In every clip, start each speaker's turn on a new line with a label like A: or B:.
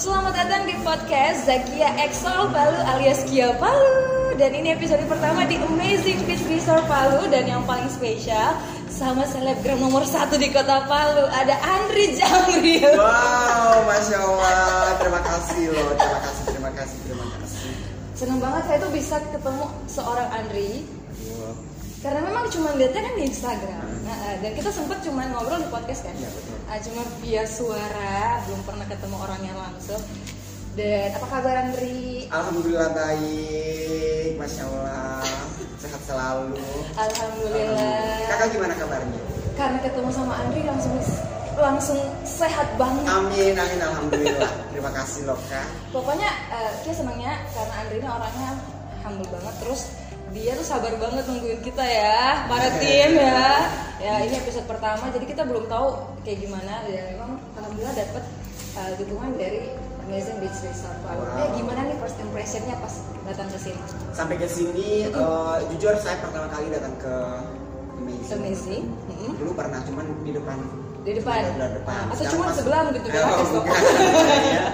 A: Selamat datang di podcast Zakia Exol Palu alias Kia Palu Dan ini episode pertama di Amazing Beach Resort Palu Dan yang paling spesial sama selebgram nomor satu di kota Palu Ada Andri Jamril
B: Wow, masya Allah, terima kasih loh, terima kasih, terima kasih, terima kasih.
A: Seneng banget saya tuh bisa ketemu seorang Andri
B: Wow.
A: karena memang cuma lihatnya kan di Instagram Nah, eh, dan kita sempat cuma ngobrol di podcast kan
B: Iya, betul.
A: Ah, cuma via suara belum pernah ketemu orangnya langsung dan apa kabar Andri
B: Alhamdulillah baik, masya Allah, sehat selalu.
A: Alhamdulillah
B: Kakak gimana kabarnya?
A: karena ketemu sama Andri langsung langsung sehat banget
B: Amin, amin, alhamdulillah. Terima kasih loh kak.
A: pokoknya eh, Kia senangnya karena Andri ini orangnya humble banget terus dia tuh sabar banget nungguin kita ya para tim ya ya ini episode pertama jadi kita belum tahu kayak gimana dan memang alhamdulillah dapet eh, dukungan dari Amazing Beach Resort Palu.
B: Wow.
A: Eh gimana nih first impressionnya pas datang ke sini?
B: Sampai ke sini, eh, jujur saya pertama kali datang ke Amazing.
A: Amazing mm-mm.
B: Dulu pernah, cuman di depan.
A: di depan
B: Benar-benar depan.
A: atau
B: Sekarang
A: cuma
B: pas-
A: sebelah gitu
B: Eh,
A: kan?
B: oh,
A: Kas, Bapak?
B: bukan. Iya.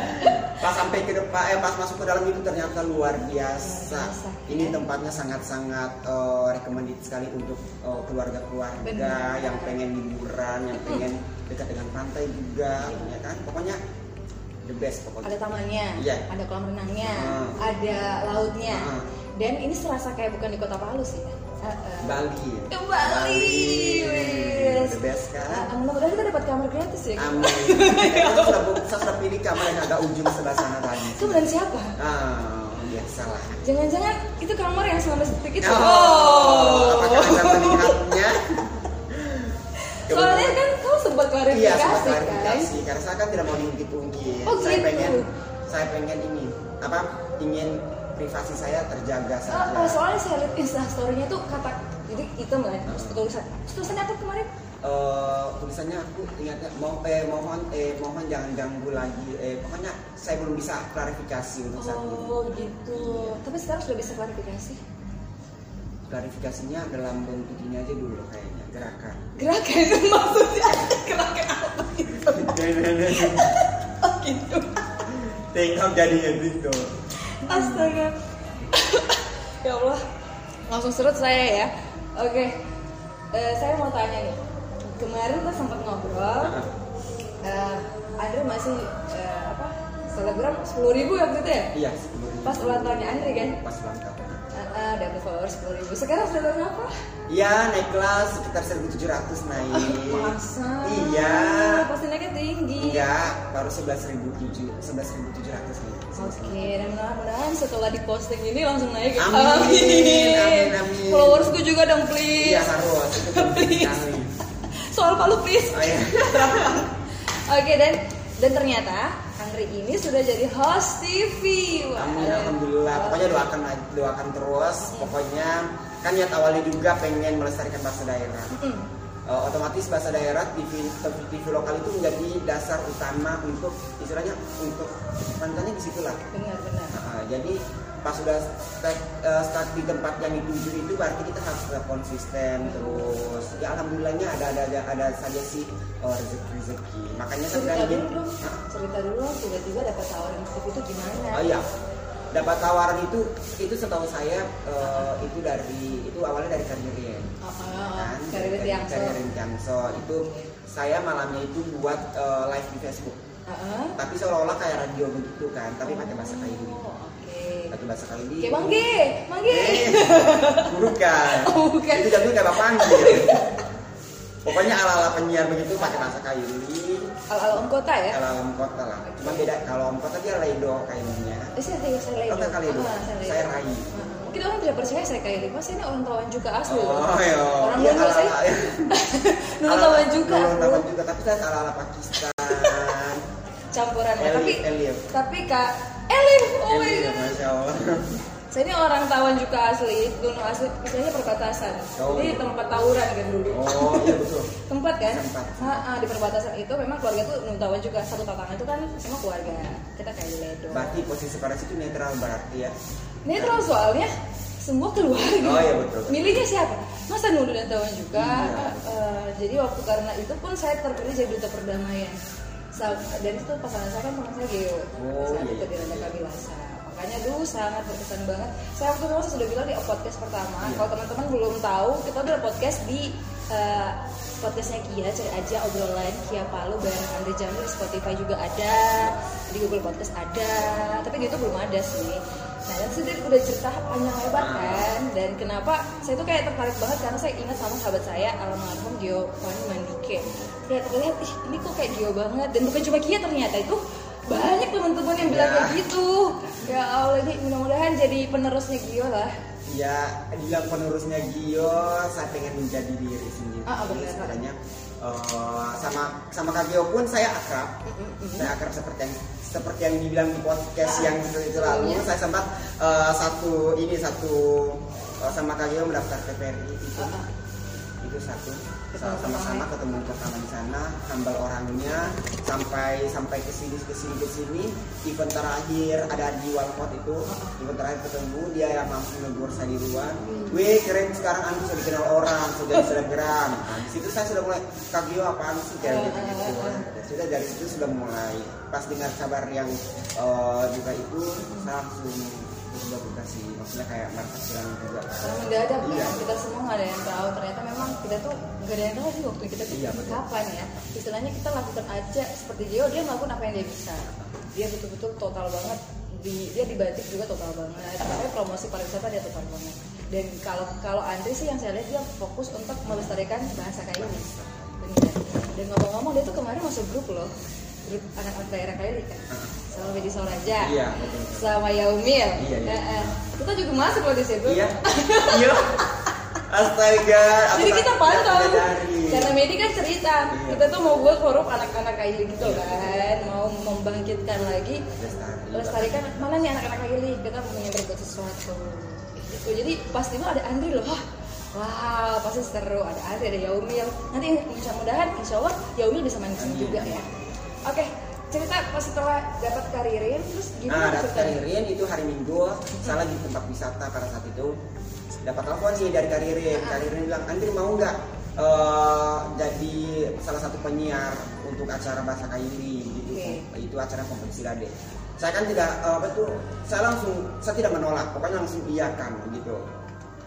B: pas sampai ke depan eh pas masuk ke dalam itu ternyata luar biasa
A: Luar biasa,
B: ini
A: ya.
B: tempatnya sangat-sangat eh, recommended sekali untuk eh, keluarga-keluarga
A: Benar.
B: yang pengen liburan yang pengen dekat dengan pantai juga
A: Iya.
B: ya kan pokoknya the best pokoknya
A: ada tamannya,
B: Iya.
A: ada kolam renangnya,
B: Hmm.
A: ada lautnya,
B: Hmm.
A: dan ini serasa kayak bukan di kota Palu sih. ya. Uh-uh.
B: Bali ya?
A: Ke Bali, wes.
B: the best
A: Ah,
B: kan
A: Mudah-mudahan kita dapat kamar gratis ya.
B: Amin. Eh, saya sudah, saya sudah pilih kamar yang agak ujung sebelah sana tadi.
A: Itu bukan siapa?
B: Ah, biasalah.
A: Jangan-jangan itu kamar yang selama detik itu.
B: Oh, apakah anda melihatnya?
A: Soalnya kan kau sempat
B: iya,
A: klarifikasi
B: sama
A: kan?
B: klarifikasi karena saya kan tidak mau diungkit-ungkit.
A: Oh,
B: saya
A: gitu.
B: pengen saya pengen ini apa ingin privasi saya terjaga
A: Oh,
B: saja.
A: oh, soalnya saya lihat instastorynya tuh kata jadi hitam kan, terus tulisan, terus tulisannya apa kemarin?
B: Eh, tulisannya aku ingatnya mau eh mohon eh mohon jangan ganggu lagi eh pokoknya saya belum bisa klarifikasi untuk saat ini.
A: Oh gitu. Tapi sekarang sudah bisa klarifikasi.
B: Klarifikasinya dalam bentuk ini aja dulu kayaknya gerakan.
A: Gerakan kan? maksudnya gerakan apa gitu? Oh gitu.
B: Take up jadinya gitu.
A: Astaga. ya Allah. Langsung serut saya ya. Oke. Eh, saya mau tanya nih. Kemarin kita sempat ngobrol. eh Andre masih eh, apa? Selebgram 10.000 ribu waktu itu ya?
B: Iya, sebelum
A: Pas ulang tahunnya Andre kan?
B: pas ulang tahun.
A: Eh, eh, dapat followers 10.000 ribu. Sekarang selebgram apa?
B: Iya, naik kelas sekitar 1700 naik.
A: Masa?
B: Iya.
A: Pasti naiknya tinggi.
B: Enggak, baru 11.700 11.700 nih.
A: Oke, dan mudah-mudahan setelah diposting ini langsung naik.
B: Amin, amin, amin.
A: Followersku juga dong, please.
B: Iya, harus. Itu penting
A: Please.
B: sekali.
A: Soal palu, please.
B: Oh, iya.
A: Oke dan dan ternyata Andri ini sudah jadi host TV. Wah,
B: Amin, alhamdulillah. Pokoknya doakan doakan terus. Pokoknya kan niat awalnya juga pengen melestarikan bahasa daerah.
A: Mm.
B: Eh, otomatis bahasa daerah TV, TV lokal itu menjadi dasar utama untuk istilahnya untuk mantannya di situ lah.
A: Benar-benar.
B: Nah, jadi pas sudah start, eh, start di tempat yang dituju itu berarti kita harus tetap konsisten terus ya alhamdulillahnya ada ada ada, ada saja sih eh, rezeki rezeki makanya kan
A: Cerita
B: saya bilang
A: dulu
B: gini,
A: dong.
B: "Hah?
A: Cerita dulu tiba-tiba dapat tawaran TV itu gimana?
B: oh iya dapat tawaran itu itu setahu saya eh, itu dari itu awalnya dari Kan? Karirin
A: Oh, oh, oh. Karir yang so.
B: Karirin Tiangso itu saya malamnya itu buat eh, live di Facebook
A: Heeh.
B: tapi seolah-olah kayak radio begitu kan tapi pakai bahasa kayu
A: Oh, Oke.
B: pakai bahasa kayu
A: Oke, Mangge, Mangge.
B: Eh, bukan.
A: Oh, bukan.
B: kan? Itu jatuh kayak bapak panggil. Pokoknya ala-ala penyiar begitu pakai bahasa kayu
A: Al-al om kota ya.
B: ala om kota lah. Cuma beda kalau om kota dia Raido kayaknya.
A: Eh, saya tahu saya Laido.
B: Kota Kaledo.
A: Ah,
B: Saya
A: Laido.
B: Rai.
A: Ah, Mungkin orang tidak percaya saya kayak Laido. Saya ini orang tawan juga asli. loh.
B: Oh, iya.
A: Orang
B: Iya,
A: Nunul saya.
B: ala-ala.
A: Nunul
B: Ala-
A: tawan juga.
B: Nunul Tawan juga, tapi saya ala-ala Pakistan.
A: campuran ya.
B: Elif,
A: tapi
B: Elif.
A: tapi kak Elif oh my
B: Iya,
A: god
B: Masya Allah.
A: saya ini orang Tawan juga asli gunung asli misalnya perbatasan
B: Oh.
A: jadi tempat tawuran kan dulu
B: Oh, iya betul.
A: tempat kan
B: Tempat.
A: Ha, ha, di perbatasan itu memang keluarga tuh gunung Tawan juga satu tantangan itu kan semua keluarga kita kayak ledo
B: Berarti posisi paras itu netral berarti ya.
A: netral soalnya semua keluarga
B: Oh, iya, betul.
A: miliknya siapa masa Nurul dan Tawan juga
B: Iya.
A: Eh, jadi waktu karena itu pun saya terpilih jadi duta perdamaian sa- dari situ pasangan saya kan pernah saya geo
B: Oh,
A: saat
B: iya,
A: itu
B: iya.
A: di Randa Kabilasa makanya dulu sangat berkesan banget saya waktu itu memang sudah bilang di podcast pertama
B: Iya.
A: kalau teman-teman belum tahu kita udah ada podcast di eh, podcastnya Kia cari aja obrolan Kia Palu bareng Andre Jamil di Spotify juga ada di Google Podcast ada tapi di YouTube belum ada sih nah dan itu dia udah cerita panjang lebar kan dan kenapa saya tuh kayak tertarik banget karena saya ingat sama sahabat saya almarhum Gio Fani Mandike kayak terlihat ih ini kok kayak Gio banget dan bukan cuma Kia ternyata itu banyak teman-teman yang bilang
B: Ya.
A: kayak gitu ya Allah ini mudah-mudahan jadi penerusnya Gio lah
B: ya dia penerusnya Gio saya pengen menjadi diri sendiri
A: Ah, ah, benar.
B: Sebenarnya, eh, sama sama Kak Gio pun saya akrab saya akrab seperti yang seperti yang dibilang di podcast
A: Ah.
B: yang itu, itu lalu
A: Sebelumnya.
B: saya sempat eh, satu ini satu eh, sama Kak Gio mendaftar TPRI itu
A: Ah, ah.
B: itu satu
A: Ketemu
B: sama-sama
A: orang.
B: ketemu pertama di sana hambal orangnya sampai sampai ke sini ke sini ke sini event terakhir ada di Walcott itu event terakhir ketemu dia yang mampu negur saya di luar weh keren sekarang anda bisa dikenal orang sudah di selebgram Nah, di situ saya sudah mulai Kak Gio apaan sih kayak gitu gitu Ya, sudah dari situ sudah mulai pas dengar kabar yang eh, juga itu saya langsung berubah berubah sih maksudnya kayak market silang juga
A: Karena mendadak
B: Iya.
A: kan kita semua nggak ada yang tahu ternyata memang kita tuh nggak ada yang tahu sih waktu kita tuh
B: Iya, betul.
A: kapan ya istilahnya kita lakukan aja seperti dia dia melakukan apa yang dia bisa dia betul-betul total banget di, dia di batik juga total banget makanya promosi pariwisata dia total banget dan kalau kalau Andre sih yang saya lihat dia fokus untuk melestarikan bahasa kayu benar dan ngomong-ngomong dia tuh kemarin masuk grup loh grup anak-anak daerah kayu kan sama Bedi Soraja
B: iya betul
A: sama Yaumil
B: Iya, iya.
A: Eh, eh. kita juga masuk loh di situ
B: Iya. Iya. Astaga. aku
A: Jadi
B: tak-
A: kita
B: tak
A: pantau.
B: menyadari.
A: Karena Medi kan cerita,
B: Iya.
A: kita tuh mau buat forum anak-anak kayu gitu kan, mau membangkitkan lagi
B: Lestari.
A: lestarikan mana nih anak-anak kayu kita punya berbuat sesuatu. Gitu. Jadi pasti mah ada Andri loh. Wah, Wow, pasti seru. Ada Andri, ada Yaumil. Nanti mudah-mudahan insya Allah Yaumil bisa main kesini
B: Amin.
A: juga ya. Oke, cerita pas setelah dapat karirin, terus
B: Nah,
A: gimana
B: dapat
A: ceritanya?
B: karirin itu hari Minggu, salah di tempat wisata pada saat itu dapat telepon nih dari karirin. Karirin bilang, Andri mau nggak eh, jadi salah satu penyiar untuk acara bahasa Kairi gitu.
A: Oke.
B: Itu acara kompetisi dade. Saya kan tidak eh, apa tuh, saya langsung saya tidak menolak, pokoknya langsung iakan gitu.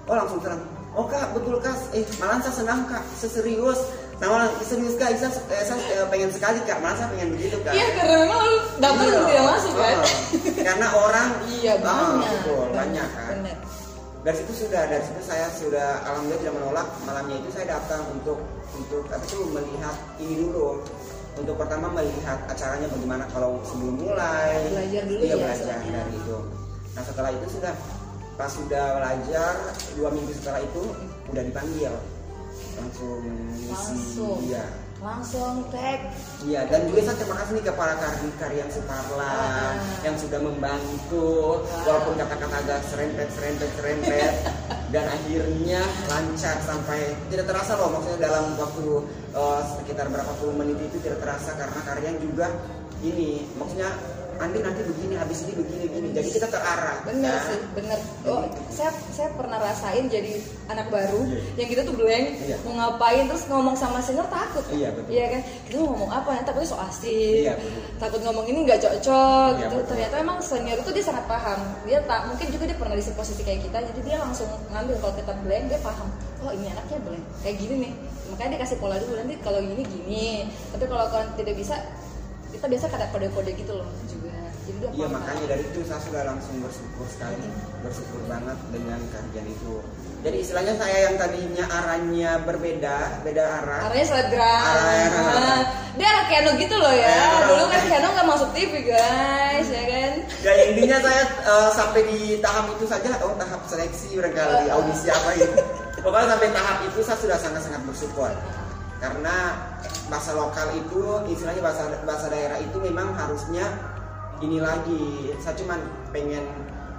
B: Oh langsung terang, oh kak betul kak, eh malah saya senang kak, seserius. Nah, malah serius kak, saya, eh, saya eh, pengen sekali kak, malah saya pengen begitu kak.
A: Iya, karena memang lu daftar
B: Iya.
A: dan tidak masuk kan?
B: Heeh. karena orang
A: Iya,
B: Ah,
A: banyak.
B: betul, banyak kan
A: Bener.
B: dari situ sudah dari situ saya sudah alhamdulillah tidak menolak malamnya itu saya datang untuk untuk apa tuh melihat ini dulu untuk pertama melihat acaranya bagaimana kalau sebelum mulai
A: Belajar dulu
B: iya
A: ya,
B: belajar
A: soalnya.
B: dari itu nah setelah itu sudah pas sudah belajar dua minggu setelah itu udah dipanggil langsung ngisi
A: Langsung.
B: iya
A: langsung tag
B: Iya, dan juga saya terima kasih nih kepada Kardi yang Suparla
A: Ah.
B: yang sudah membantu walaupun kata-kata agak serempet serempet serempet dan akhirnya lancar sampai tidak terasa loh maksudnya dalam waktu eh, sekitar berapa puluh menit itu tidak terasa karena Karyang juga ini maksudnya Andi nanti begini habis ini begini begini jadi kita terarah
A: bener
B: Nah,
A: sih bener oh saya saya pernah rasain jadi anak baru
B: gitu. Iya.
A: yang kita tuh blank
B: Iya.
A: mau ngapain terus ngomong sama senior takut
B: Iya, betul.
A: kan kita mau ngomong apa nanti takutnya so asik
B: Iya, betul.
A: takut ngomong ini nggak cocok
B: Iya,
A: gitu.
B: betul.
A: ternyata emang senior itu dia sangat paham dia tak mungkin juga dia pernah di posisi kayak kita jadi dia langsung ngambil kalau kita blank dia paham oh ini anaknya blank kayak gini nih makanya dia kasih pola dulu nanti kalau gini gini tapi kalau kalian tidak bisa kita biasa ada kode-kode gitu loh juga jadi dia
B: Iya
A: paham.
B: makanya dari itu Hmm. saya sudah langsung bersyukur sekali, bersyukur banget dengan kajian itu. Jadi istilahnya saya yang tadinya arahnya berbeda, beda arah.
A: Arahnya selebgram.
B: Arahnya. Iya.
A: Nah, Dia arah Keanu gitu loh ya.
B: Arah.
A: Dulu kan Keanu nggak masuk TV guys, ya kan?
B: Ya intinya saya eh, sampai di tahap itu saja, oh tahap seleksi barangkali audisi apa gitu. Pokoknya sampai tahap itu saya sudah sangat-sangat bersyukur karena bahasa lokal itu istilahnya bahasa bahasa daerah itu memang harusnya ini lagi saya cuman pengen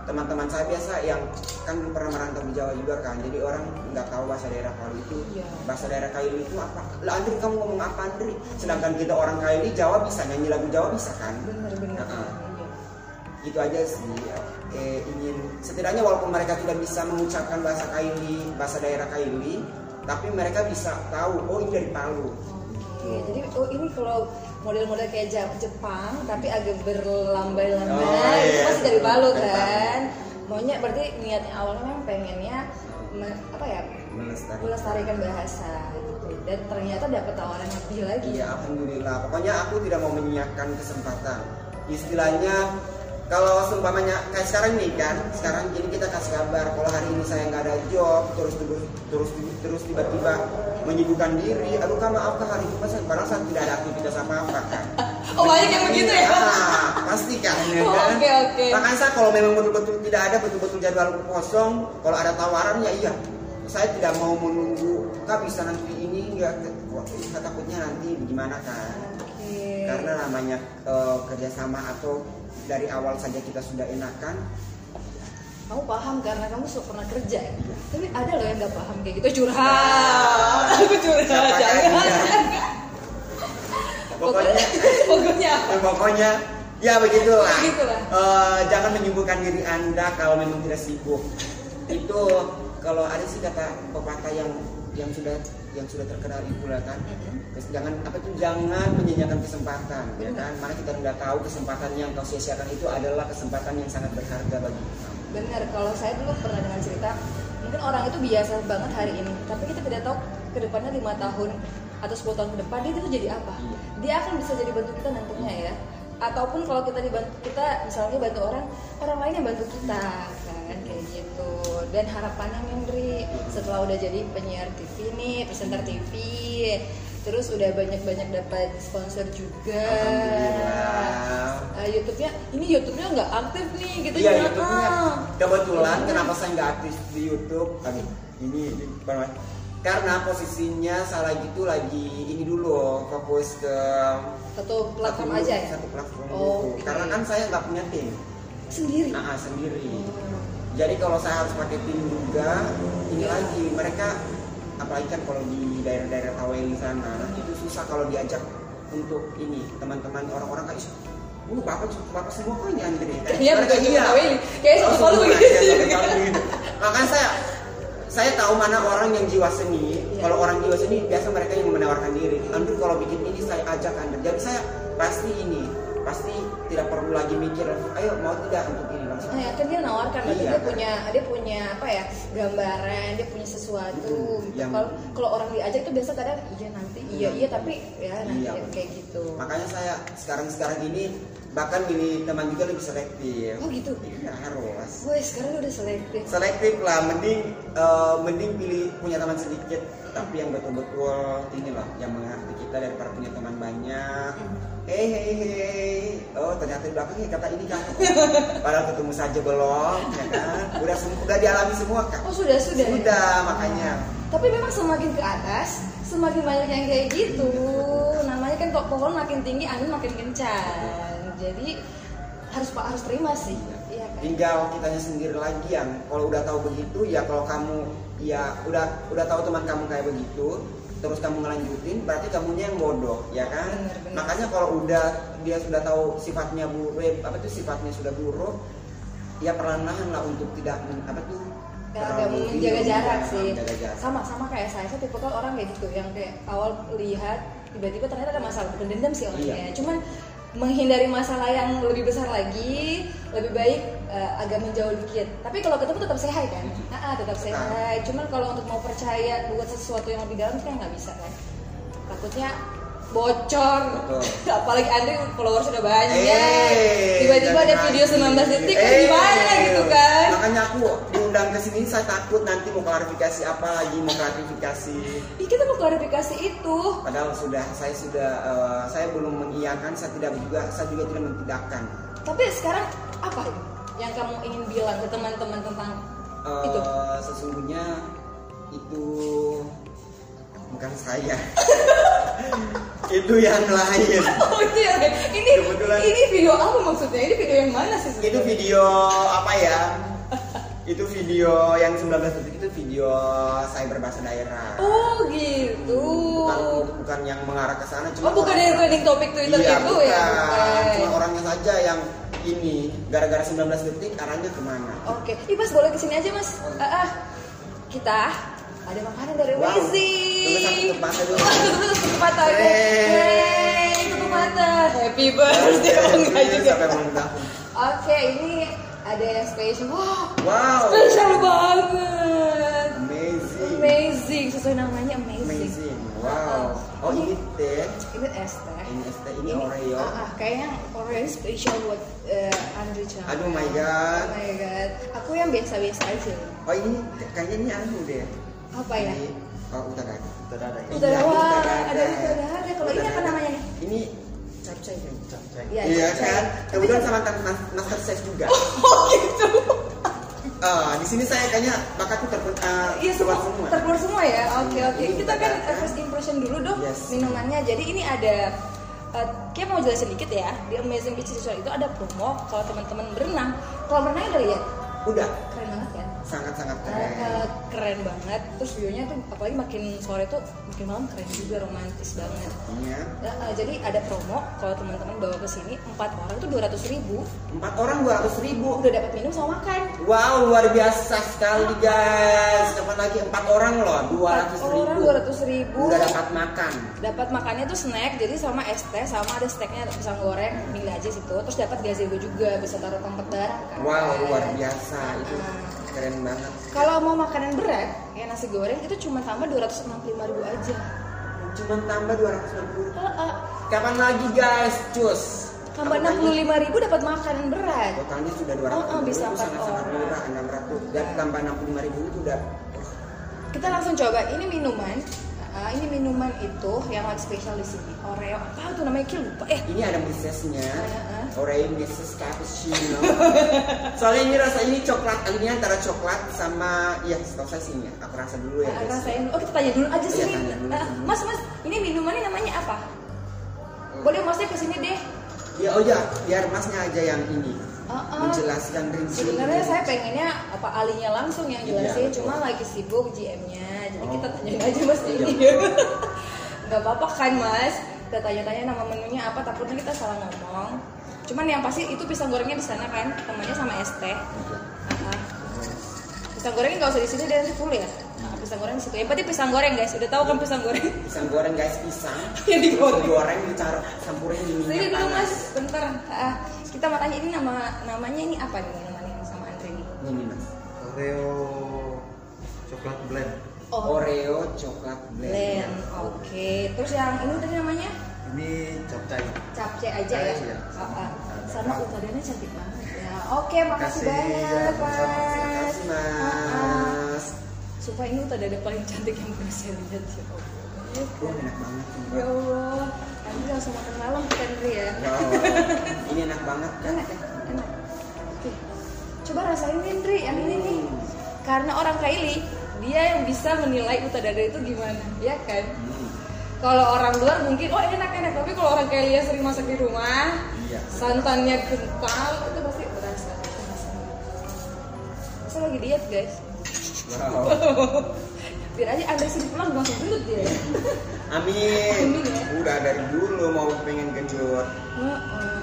B: teman-teman saya biasa yang kan pernah merantau di Jawa juga kan jadi orang nggak tahu bahasa daerah Kaili itu
A: Iya.
B: bahasa daerah Kaili itu apa lah Andri kamu ngomong apa Andri sedangkan kita orang Kaili Jawa bisa nyanyi lagu Jawa bisa kan
A: Bener-bener.
B: Heeh. gitu aja sih eh, ingin setidaknya walaupun mereka tidak bisa mengucapkan bahasa Kaili bahasa daerah Kaili tapi mereka bisa tahu oh ini dari Palu
A: Oke, jadi oh ini kalau model-model kayak Ja- Jepang tapi agak berlambai-lambai
B: Oh,
A: itu
B: iya.
A: pasti dari Balu
B: Dari Balu.
A: kan maunya berarti niatnya awalnya memang pengennya me- apa ya
B: melestarikan
A: melestarikan bahasa gitu. dan ternyata dapat tawaran lebih lagi
B: Iya, alhamdulillah. Pokoknya aku tidak mau menyiapkan kesempatan. Istilahnya kalau seumpamanya kayak sekarang nih kan, sekarang ini kita kasih kabar kalau hari ini saya nggak ada job, terus tiba- terus terus tiba-tiba menyibukkan diri, aduh kan maaf Kak, hari Jumat saya padahal saya tidak ada aktivitas apa-apa kan.
A: Oh, banyak yang begitu ya?
B: Ah, pasti kan. ya
A: Oh,
B: kan?
A: oke, oke.
B: Makanya saya kalau memang betul-betul tidak ada betul-betul jadwal kosong, kalau ada tawaran ya iya. Saya tidak mau menunggu kak bisa nanti ini enggak saya takutnya nanti gimana kan.
A: Oke.
B: Karena namanya eh, kerjasama atau dari awal saja kita sudah enakan,
A: kamu paham karena kamu sudah pernah kerja ya?
B: Iya.
A: tapi ada loh yang nggak paham kayak gitu curhat aku curhat
B: Siapa
A: jangan
B: kan?
A: pokoknya
B: Pokoknya-
A: pokoknya apa?
B: Ya, pokoknya ya begitulah.
A: Begitulah.
B: Eh, jangan menyibukkan diri Anda kalau memang tidak sibuk. Itu kalau ada sih kata pepatah yang yang sudah yang sudah terkenal itu lah kan.
A: Mm-mm.
B: Kes- Jangan apa tuh jangan menyanyiakan kesempatan, ya
A: Benar.
B: kan? Mana kita nggak tahu kesempatan yang kau sia-siakan itu adalah kesempatan yang sangat berharga bagi kita.
A: benar kalau saya dulu pernah dengan cerita mungkin orang itu biasa banget hari ini tapi kita tidak tahu kedepannya lima tahun atau 10 tahun ke depan dia itu jadi apa
B: Iya.
A: dia akan bisa jadi bantu kita nantinya ya ataupun kalau kita dibantu kita misalnya bantu orang orang lain yang bantu kita kan kayak gitu dan harapannya Mendri setelah udah jadi penyiar TV nih presenter TV terus udah banyak-banyak dapat sponsor juga
B: Alhamdulillah.
A: Eh, YouTube-nya ini YouTube-nya nggak aktif nih gitu
B: Iya
A: ya.
B: YouTube
A: Ah.
B: Kebetulan kenapa saya nggak aktif di YouTube? Aduh, ini, ini apa namanya? karena posisinya saya lagi itu lagi ini dulu fokus ke
A: Satu platform
B: satu-
A: aja ya.
B: Satu platform
A: Oh,
B: dulu.
A: oke.
B: Karena kan saya nggak punya tim,
A: Sendiri.
B: nah, sendiri. Jadi kalau saya harus pakai tim juga, ini lagi mereka apalagi kan kalau di daerah-daerah Taweli sana nah, itu susah kalau diajak untuk ini teman-teman orang-orang kayak Uh, bapak, bapak semua kok ini Andre. Kayak
A: Iya,
B: mereka,
A: bukan cuma Taweli. Kayaknya
B: Nah, Oh,
A: satu palu
B: semua,
A: gitu
B: iya, satu
A: juga.
B: palu gitu. Makanya saya saya tahu mana orang yang jiwa seni.
A: Iya.
B: Kalau orang jiwa seni biasa mereka yang menawarkan diri. Andre kalau bikin ini saya ajak Andre. Jadi saya pasti ini pasti tidak perlu lagi mikir. Ayo mau tidak untuk ini langsung.
A: Nah, ya kan dia nawarkan, berarti
B: Iya,
A: dia
B: kan.
A: punya dia punya apa ya gambaran, dia punya sesuatu.
B: Mm,
A: gitu.
B: yang-
A: Kalau kalau orang diajak tuh biasa kadang iya nanti, iya
B: Iya.
A: iya tapi ya nanti
B: Iya.
A: kayak gitu.
B: Makanya saya sekarang-sekarang ini bahkan milih teman juga lebih selektif.
A: Oh gitu.
B: Iya harus.
A: Woi sekarang udah selektif.
B: selektif lah mending eh, mending pilih punya teman sedikit tapi yang betul-betul inilah yang mengerti kita daripada punya teman banyak hei hei hei oh ternyata di belakangnya kata ini kan padahal ketemu saja belum ya kan udah sem- udah dialami semua kan
A: Oh sudah sudah. ya?
B: Sudah, makanya.
A: Tapi memang semakin ke atas, semakin banyak yang kayak gitu. Namanya kan kok pohon makin tinggi, angin makin kencang. Jadi harus pak harus terima sih. Iya kan.
B: tinggal kitanya sendiri lagi yang kalau udah tahu begitu ya kalau kamu ya udah udah tahu teman kamu kayak begitu terus kamu ngelanjutin berarti kamunya yang bodoh ya kan
A: Bener, bener.
B: makanya kalau udah dia sudah tahu sifatnya buruk eh, apa tuh sifatnya sudah buruk ya perlahan-lahan lah untuk tidak men- apa tuh
A: Agak
B: terlalu
A: menjaga
B: ini,
A: jarak
B: ya,
A: sih.
B: menjaga jarak.
A: Sama sama kayak saya, saya tipe orang kayak gitu yang kayak awal lihat tiba-tiba ternyata ada masalah bukan dendam sih orangnya.
B: Iya.
A: Cuman menghindari masalah yang lebih besar lagi, lebih baik eh, agak menjauh dikit. Tapi kalau ketemu tetap sehat kan?
B: Mhm.
A: Ah, ah, tetap
B: Tetap.
A: sehat. Cuman kalau untuk mau percaya buat sesuatu yang lebih dalam kan nggak bisa kan? Takutnya bocor.
B: Betul.
A: Apalagi Andri followers sudah banyak.
B: Eh,
A: Tiba-tiba
B: jangan
A: ada video 19
B: lagi.
A: detik kan
B: Eh,
A: gimana gitu kan?
B: Makanya aku diundang ke sini saya takut nanti mau klarifikasi apa lagi mau klarifikasi.
A: Ih, kita mau klarifikasi itu.
B: Padahal sudah saya sudah eh, saya belum mengiyakan, saya tidak juga saya juga tidak mentidakkan.
A: Tapi sekarang apa yang kamu ingin bilang ke teman-teman tentang
B: Eh,
A: itu?
B: sesungguhnya itu bukan saya. itu yang lain.
A: Oh, itu yang lain. ini
B: Kebetulan.
A: ini video apa maksudnya? Ini video yang mana sih?
B: itu
A: sebenarnya?
B: video apa ya itu video yang 19 detik itu video saya berbahasa daerah
A: Oh gitu.
B: bukan bukan yang mengarah ke sana cuma
A: oh bukan
B: orang-
A: yang trending topik Twitter
B: iya,
A: itu
B: bukan.
A: ya?
B: cuma
A: Bukan.
B: orangnya saja yang ini gara-gara 19 detik arahnya kemana
A: Oke, Ih, Mas boleh kesini aja mas. Ah, ah. kita ada makanan dari
B: Wow.
A: Wizi.
B: Tunggu satu tempat aja dulu.
A: Satu ya. tempat aja.
B: Yeay.
A: Yeay. happy birthday oh, enggak juga
B: Iya, Sampai mau mendapung.
A: oke ini ada yang spesial wah
B: Wow.
A: spesial banget
B: Amazing.
A: amazing sesuai namanya amazing,
B: Amazing. Wow. Oh ini teh.
A: ini es teh
B: Ini es teh. Ini Oreo.
A: ah, ah, kayaknya Oreo spesial buat eh, Andre Chan
B: Aduh my
A: oh
B: god.
A: my god aku yang biasa-biasa aja
B: Oh ini kayaknya ini anu deh.
A: apa ya
B: Ini, oh utara. Utara ada.
A: Utara, wah, ada utara ada. Kalau ini apa namanya nih?
B: Ini capcay kan? Capcay.
A: Iya,
B: Iya,
A: capcay.
B: kan? Kebetulan sama tan- mas- master chef juga.
A: oh gitu
B: Ah, di sini saya kayaknya bakatku eh, terputar
A: Iya semua, terkeluar semua ya. Oke
B: Iya,
A: oke.
B: ini
A: Kita kan
B: kita-
A: eh, first impression dulu dong
B: Yes.
A: minumannya. Jadi ini ada eh, Kia mau jelasin dikit ya di Amazing Beach Resort itu ada promo kalau teman-teman berenang. Kalau berenang udah lihat
B: Udah,
A: keren banget kan?
B: sangat-sangat
A: Eh,
B: keren.
A: eh, keren banget. Terus view-nya tuh apalagi makin sore tuh makin malam keren juga romantis banget.
B: Iya.
A: Eh, eh, jadi ada promo kalau teman-teman bawa ke sini empat orang tuh 200.000 ribu
B: Empat orang dua ratus ribu.
A: udah dapat minum sama makan.
B: Wow, luar biasa sekali guys. Kapan lagi empat orang loh, dua ratus
A: Empat
B: ribu.
A: orang 200.000.
B: Udah dapat makan.
A: dapat makannya tuh snack jadi sama es teh sama ada snacknya ada pisang goreng tinggal aja situ terus dapat gazebo juga bisa taruh tempat barang kan
B: Wow, luar biasa itu keren banget.
A: kalau mau makanan berat ya nasi goreng itu cuma tambah 265.000 ribu aja
B: Cuman tambah dua ratus ribu.
A: Heeh.
B: Kapan lagi guys, cus.
A: tambah
B: Kapan lagi?
A: 65.000 ribu dapat makanan berat
B: Totalnya sudah dua ratus
A: Oh, oh, bisa empat
B: sangat-sangat
A: orang.
B: murah enam ratus dan tambah enam puluh lima ribu itu udah
A: kita langsung coba ini minuman Heeh, ini minuman itu yang lagi spesial di sini Oreo apa tuh namanya Ki lupa eh
B: ini ada misesnya
A: Heeh.
B: Oreo Mrs. Cappuccino Soalnya ini rasa ini coklat Ini antara coklat sama Ya setahu saya sih ini ya. Aku rasa dulu ya
A: eh,
B: guys.
A: rasain oh kita tanya dulu aja
B: Iya,
A: sini
B: tanya dulu.
A: Eh, mas mas ini minumannya namanya apa
B: Eh.
A: boleh masnya kesini deh
B: Ya oh ya Biar masnya aja yang ini
A: Heeh.
B: Menjelaskan rinci
A: Oh, Sebenarnya saya pengennya apa alinya langsung yang jelasin,
B: Iya, betul.
A: cuma lagi sibuk GM-nya, jadi
B: Oh.
A: kita tanyain aja mas
B: Iya.
A: ini. Gak apa-apa kan mas? Kita tanya-tanya nama menunya apa, takutnya kita salah ngomong. Cuman yang pasti itu pisang gorengnya di sana kan, temannya sama es teh. Ah, ah. Pisang gorengnya nggak usah di sini, dia nanti full ya. Ah, pisang goreng di situ. Yang penting pisang goreng guys, udah tahu kan pisang goreng
B: Pisang goreng guys pisang
A: yang
B: Terus
A: digoreng.
B: digoreng ditaruh campurin di
A: Iya. Sini
B: minyak
A: dulu
B: panas
A: mas, bentar. Ah, kita mau tanya ini nama namanya ini apa nih minuman yang sama Andre ini?
B: Ini mas
C: Oreo coklat blend.
A: Oh,
B: Oreo coklat blend
A: Blend, oke. Terus yang ini tadi namanya
C: Ini capcay.
A: capce aja ya.
C: Iya.
A: Ah, ah. Sama utaranya cantik banget ya. Oke, makasih
C: Makasih, ya,
A: banyak,
C: sama-sama.
A: Mas.
B: Makasih
A: Ah, ah.
B: mas
A: Sumpah ini utadanya paling cantik yang pernah saya lihat ya Allah.
B: Oh enak banget sumpah.
A: Ya Allah. Nanti langsung makan malam kita Andre ya.
B: Wow, ini enak banget kan?
A: Enak ya? Enak. Oke. Coba rasain nih, Andre, yang ini nih.
C: Hmm.
A: Karena orang Kaili, dia yang bisa menilai utadada itu gimana, ya kan?
B: Hmm,
A: Kalau orang luar mungkin oh enak-enak, tapi kalau orang kayak dia sering masak di rumah,
B: iya.
A: santannya kental itu pasti berasa. berasa. Saya lagi diet guys,
B: Wow.
A: biar aja Andre sedikit pulang langsung gendut dia. ya.
B: Amin.
A: Amin ya.
B: Udah dari dulu mau pengen genjot.
A: Heeh.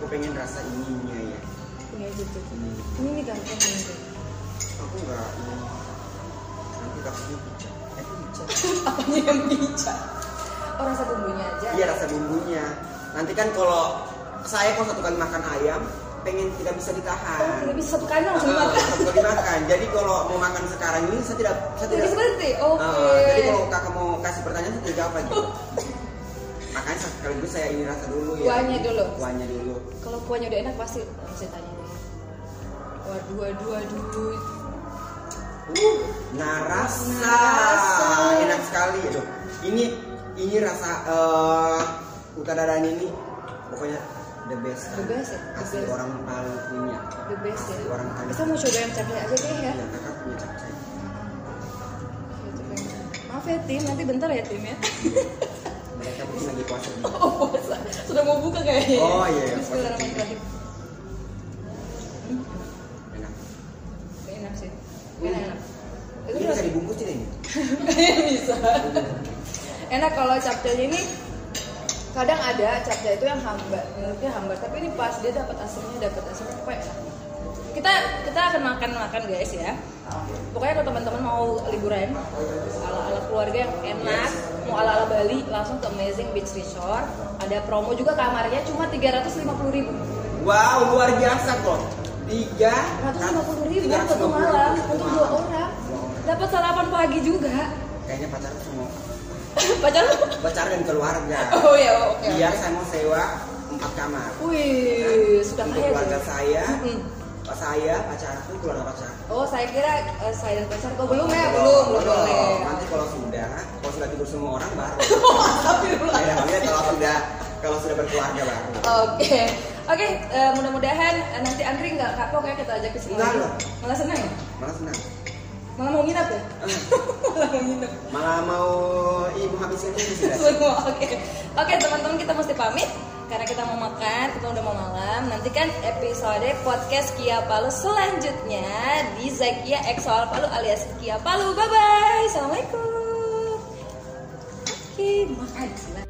B: Aku pengen rasa ininya ya.
A: Ini aja tuh.
B: Ini.
A: Ini nih gampang nih. tuh.
B: Aku nggak ini. Nanti takutnya pecah. Eh, itu pecah.
A: Apanya yang bijak? Oh rasa bumbunya aja.
B: Iya rasa bumbunya. Nanti kan kalau saya kalau satu kali makan ayam pengen tidak bisa
A: Oh,
B: ditahan.
A: tidak bisa satu kali langsung
B: Ah,
A: makan.
B: satu kali makan. Jadi kalau mau makan sekarang ini saya tidak saya
A: Tidak
B: tidak
A: seperti. Oke.
B: Ah, jadi kalau kakak mau kasih pertanyaan saya tidak jawab aja. Makanya sekaligus saya ini rasa dulu ya.
A: Kuahnya dulu.
B: Kuahnya dulu.
A: Kalau kuahnya udah enak pasti harus tanya deh. Waduh, waduh, waduh.
B: Uh, narasa.
A: Narasa.
B: Enak sekali. Aduh, ini ini rasa eh utadaran ini pokoknya the best.
A: The best ya? The
B: Asli
A: best.
B: orang paling punya.
A: The best ya.
B: Orang kaya.
A: Bisa mau coba yang capek aja deh ya.
B: Ya, kakak punya capcay.
A: Oke, coba yang capcay. Maaf ya tim, nanti bentar ya tim ya.
B: Mereka mungkin lagi puasa juga.
A: Oh puasa, sudah mau buka kayaknya.
B: Oh, iya, iya.
A: Bismillahirrahmanirrahim.
B: Enak.
A: Enak sih. Enak, enak. Itu
B: Ini bisa
A: rasa-
B: dibungkus tidak ini?
A: Kayaknya bisa. Enak kalau capcay ini kadang ada capcay itu yang hambar, menurutnya hambar, tapi ini pas dia dapat asamnya, dapat asamnya pokoknya enak. Kita kita akan makan-makan guys ya. Pokoknya kalau teman-teman mau liburan ala-ala keluarga yang enak, mau ala ala Bali langsung ke Amazing Beach Resort ada promo juga kamarnya cuma 350 ribu
B: Wow, luar biasa kok. Tiga.
A: 350 ribu satu malam untuk dua orang dapat sarapan pagi juga
B: Kayaknya pacar tuh mau
A: pacar lu
B: pacar dan keluarga.
A: oh ya oke oke.
B: Biar saya mau sewa empat kamar.
A: wih sudah
B: Untuk
A: kaya
B: keluarga
A: tuh.
B: saya,
A: Mm-mm.
B: pas saya, pacarku, keluarga pacarku.
A: oh saya kira eh, saya dan pacar kok belum ya belum belum boleh
B: Nanti kalau sudah, kalau sudah tidur semua orang baru.
A: Astagfirullah.
B: Ya, maksudnya kalau sudah kalau sudah berkeluarga baru.
A: Oke, oke. eh, mudah-mudahan eh, nanti Andri nggak kapok ya kita ajak ke sini.
B: Enggak,
A: lagi.
B: loh.
A: Malah senang ya?
B: Malah senang.
A: Malah mau nginap ya? Malah mau nginap.
B: Malah mau ibu habiskan ini sudah.
A: Semua, Oke, oke teman-teman kita mesti pamit karena kita mau makan, kita udah mau malam. Nantikan episode podcast Kia Palu selanjutnya di Zakia Exoal Palu alias Kia Palu. Bye bye. Assalamualaikum. Oke, makan.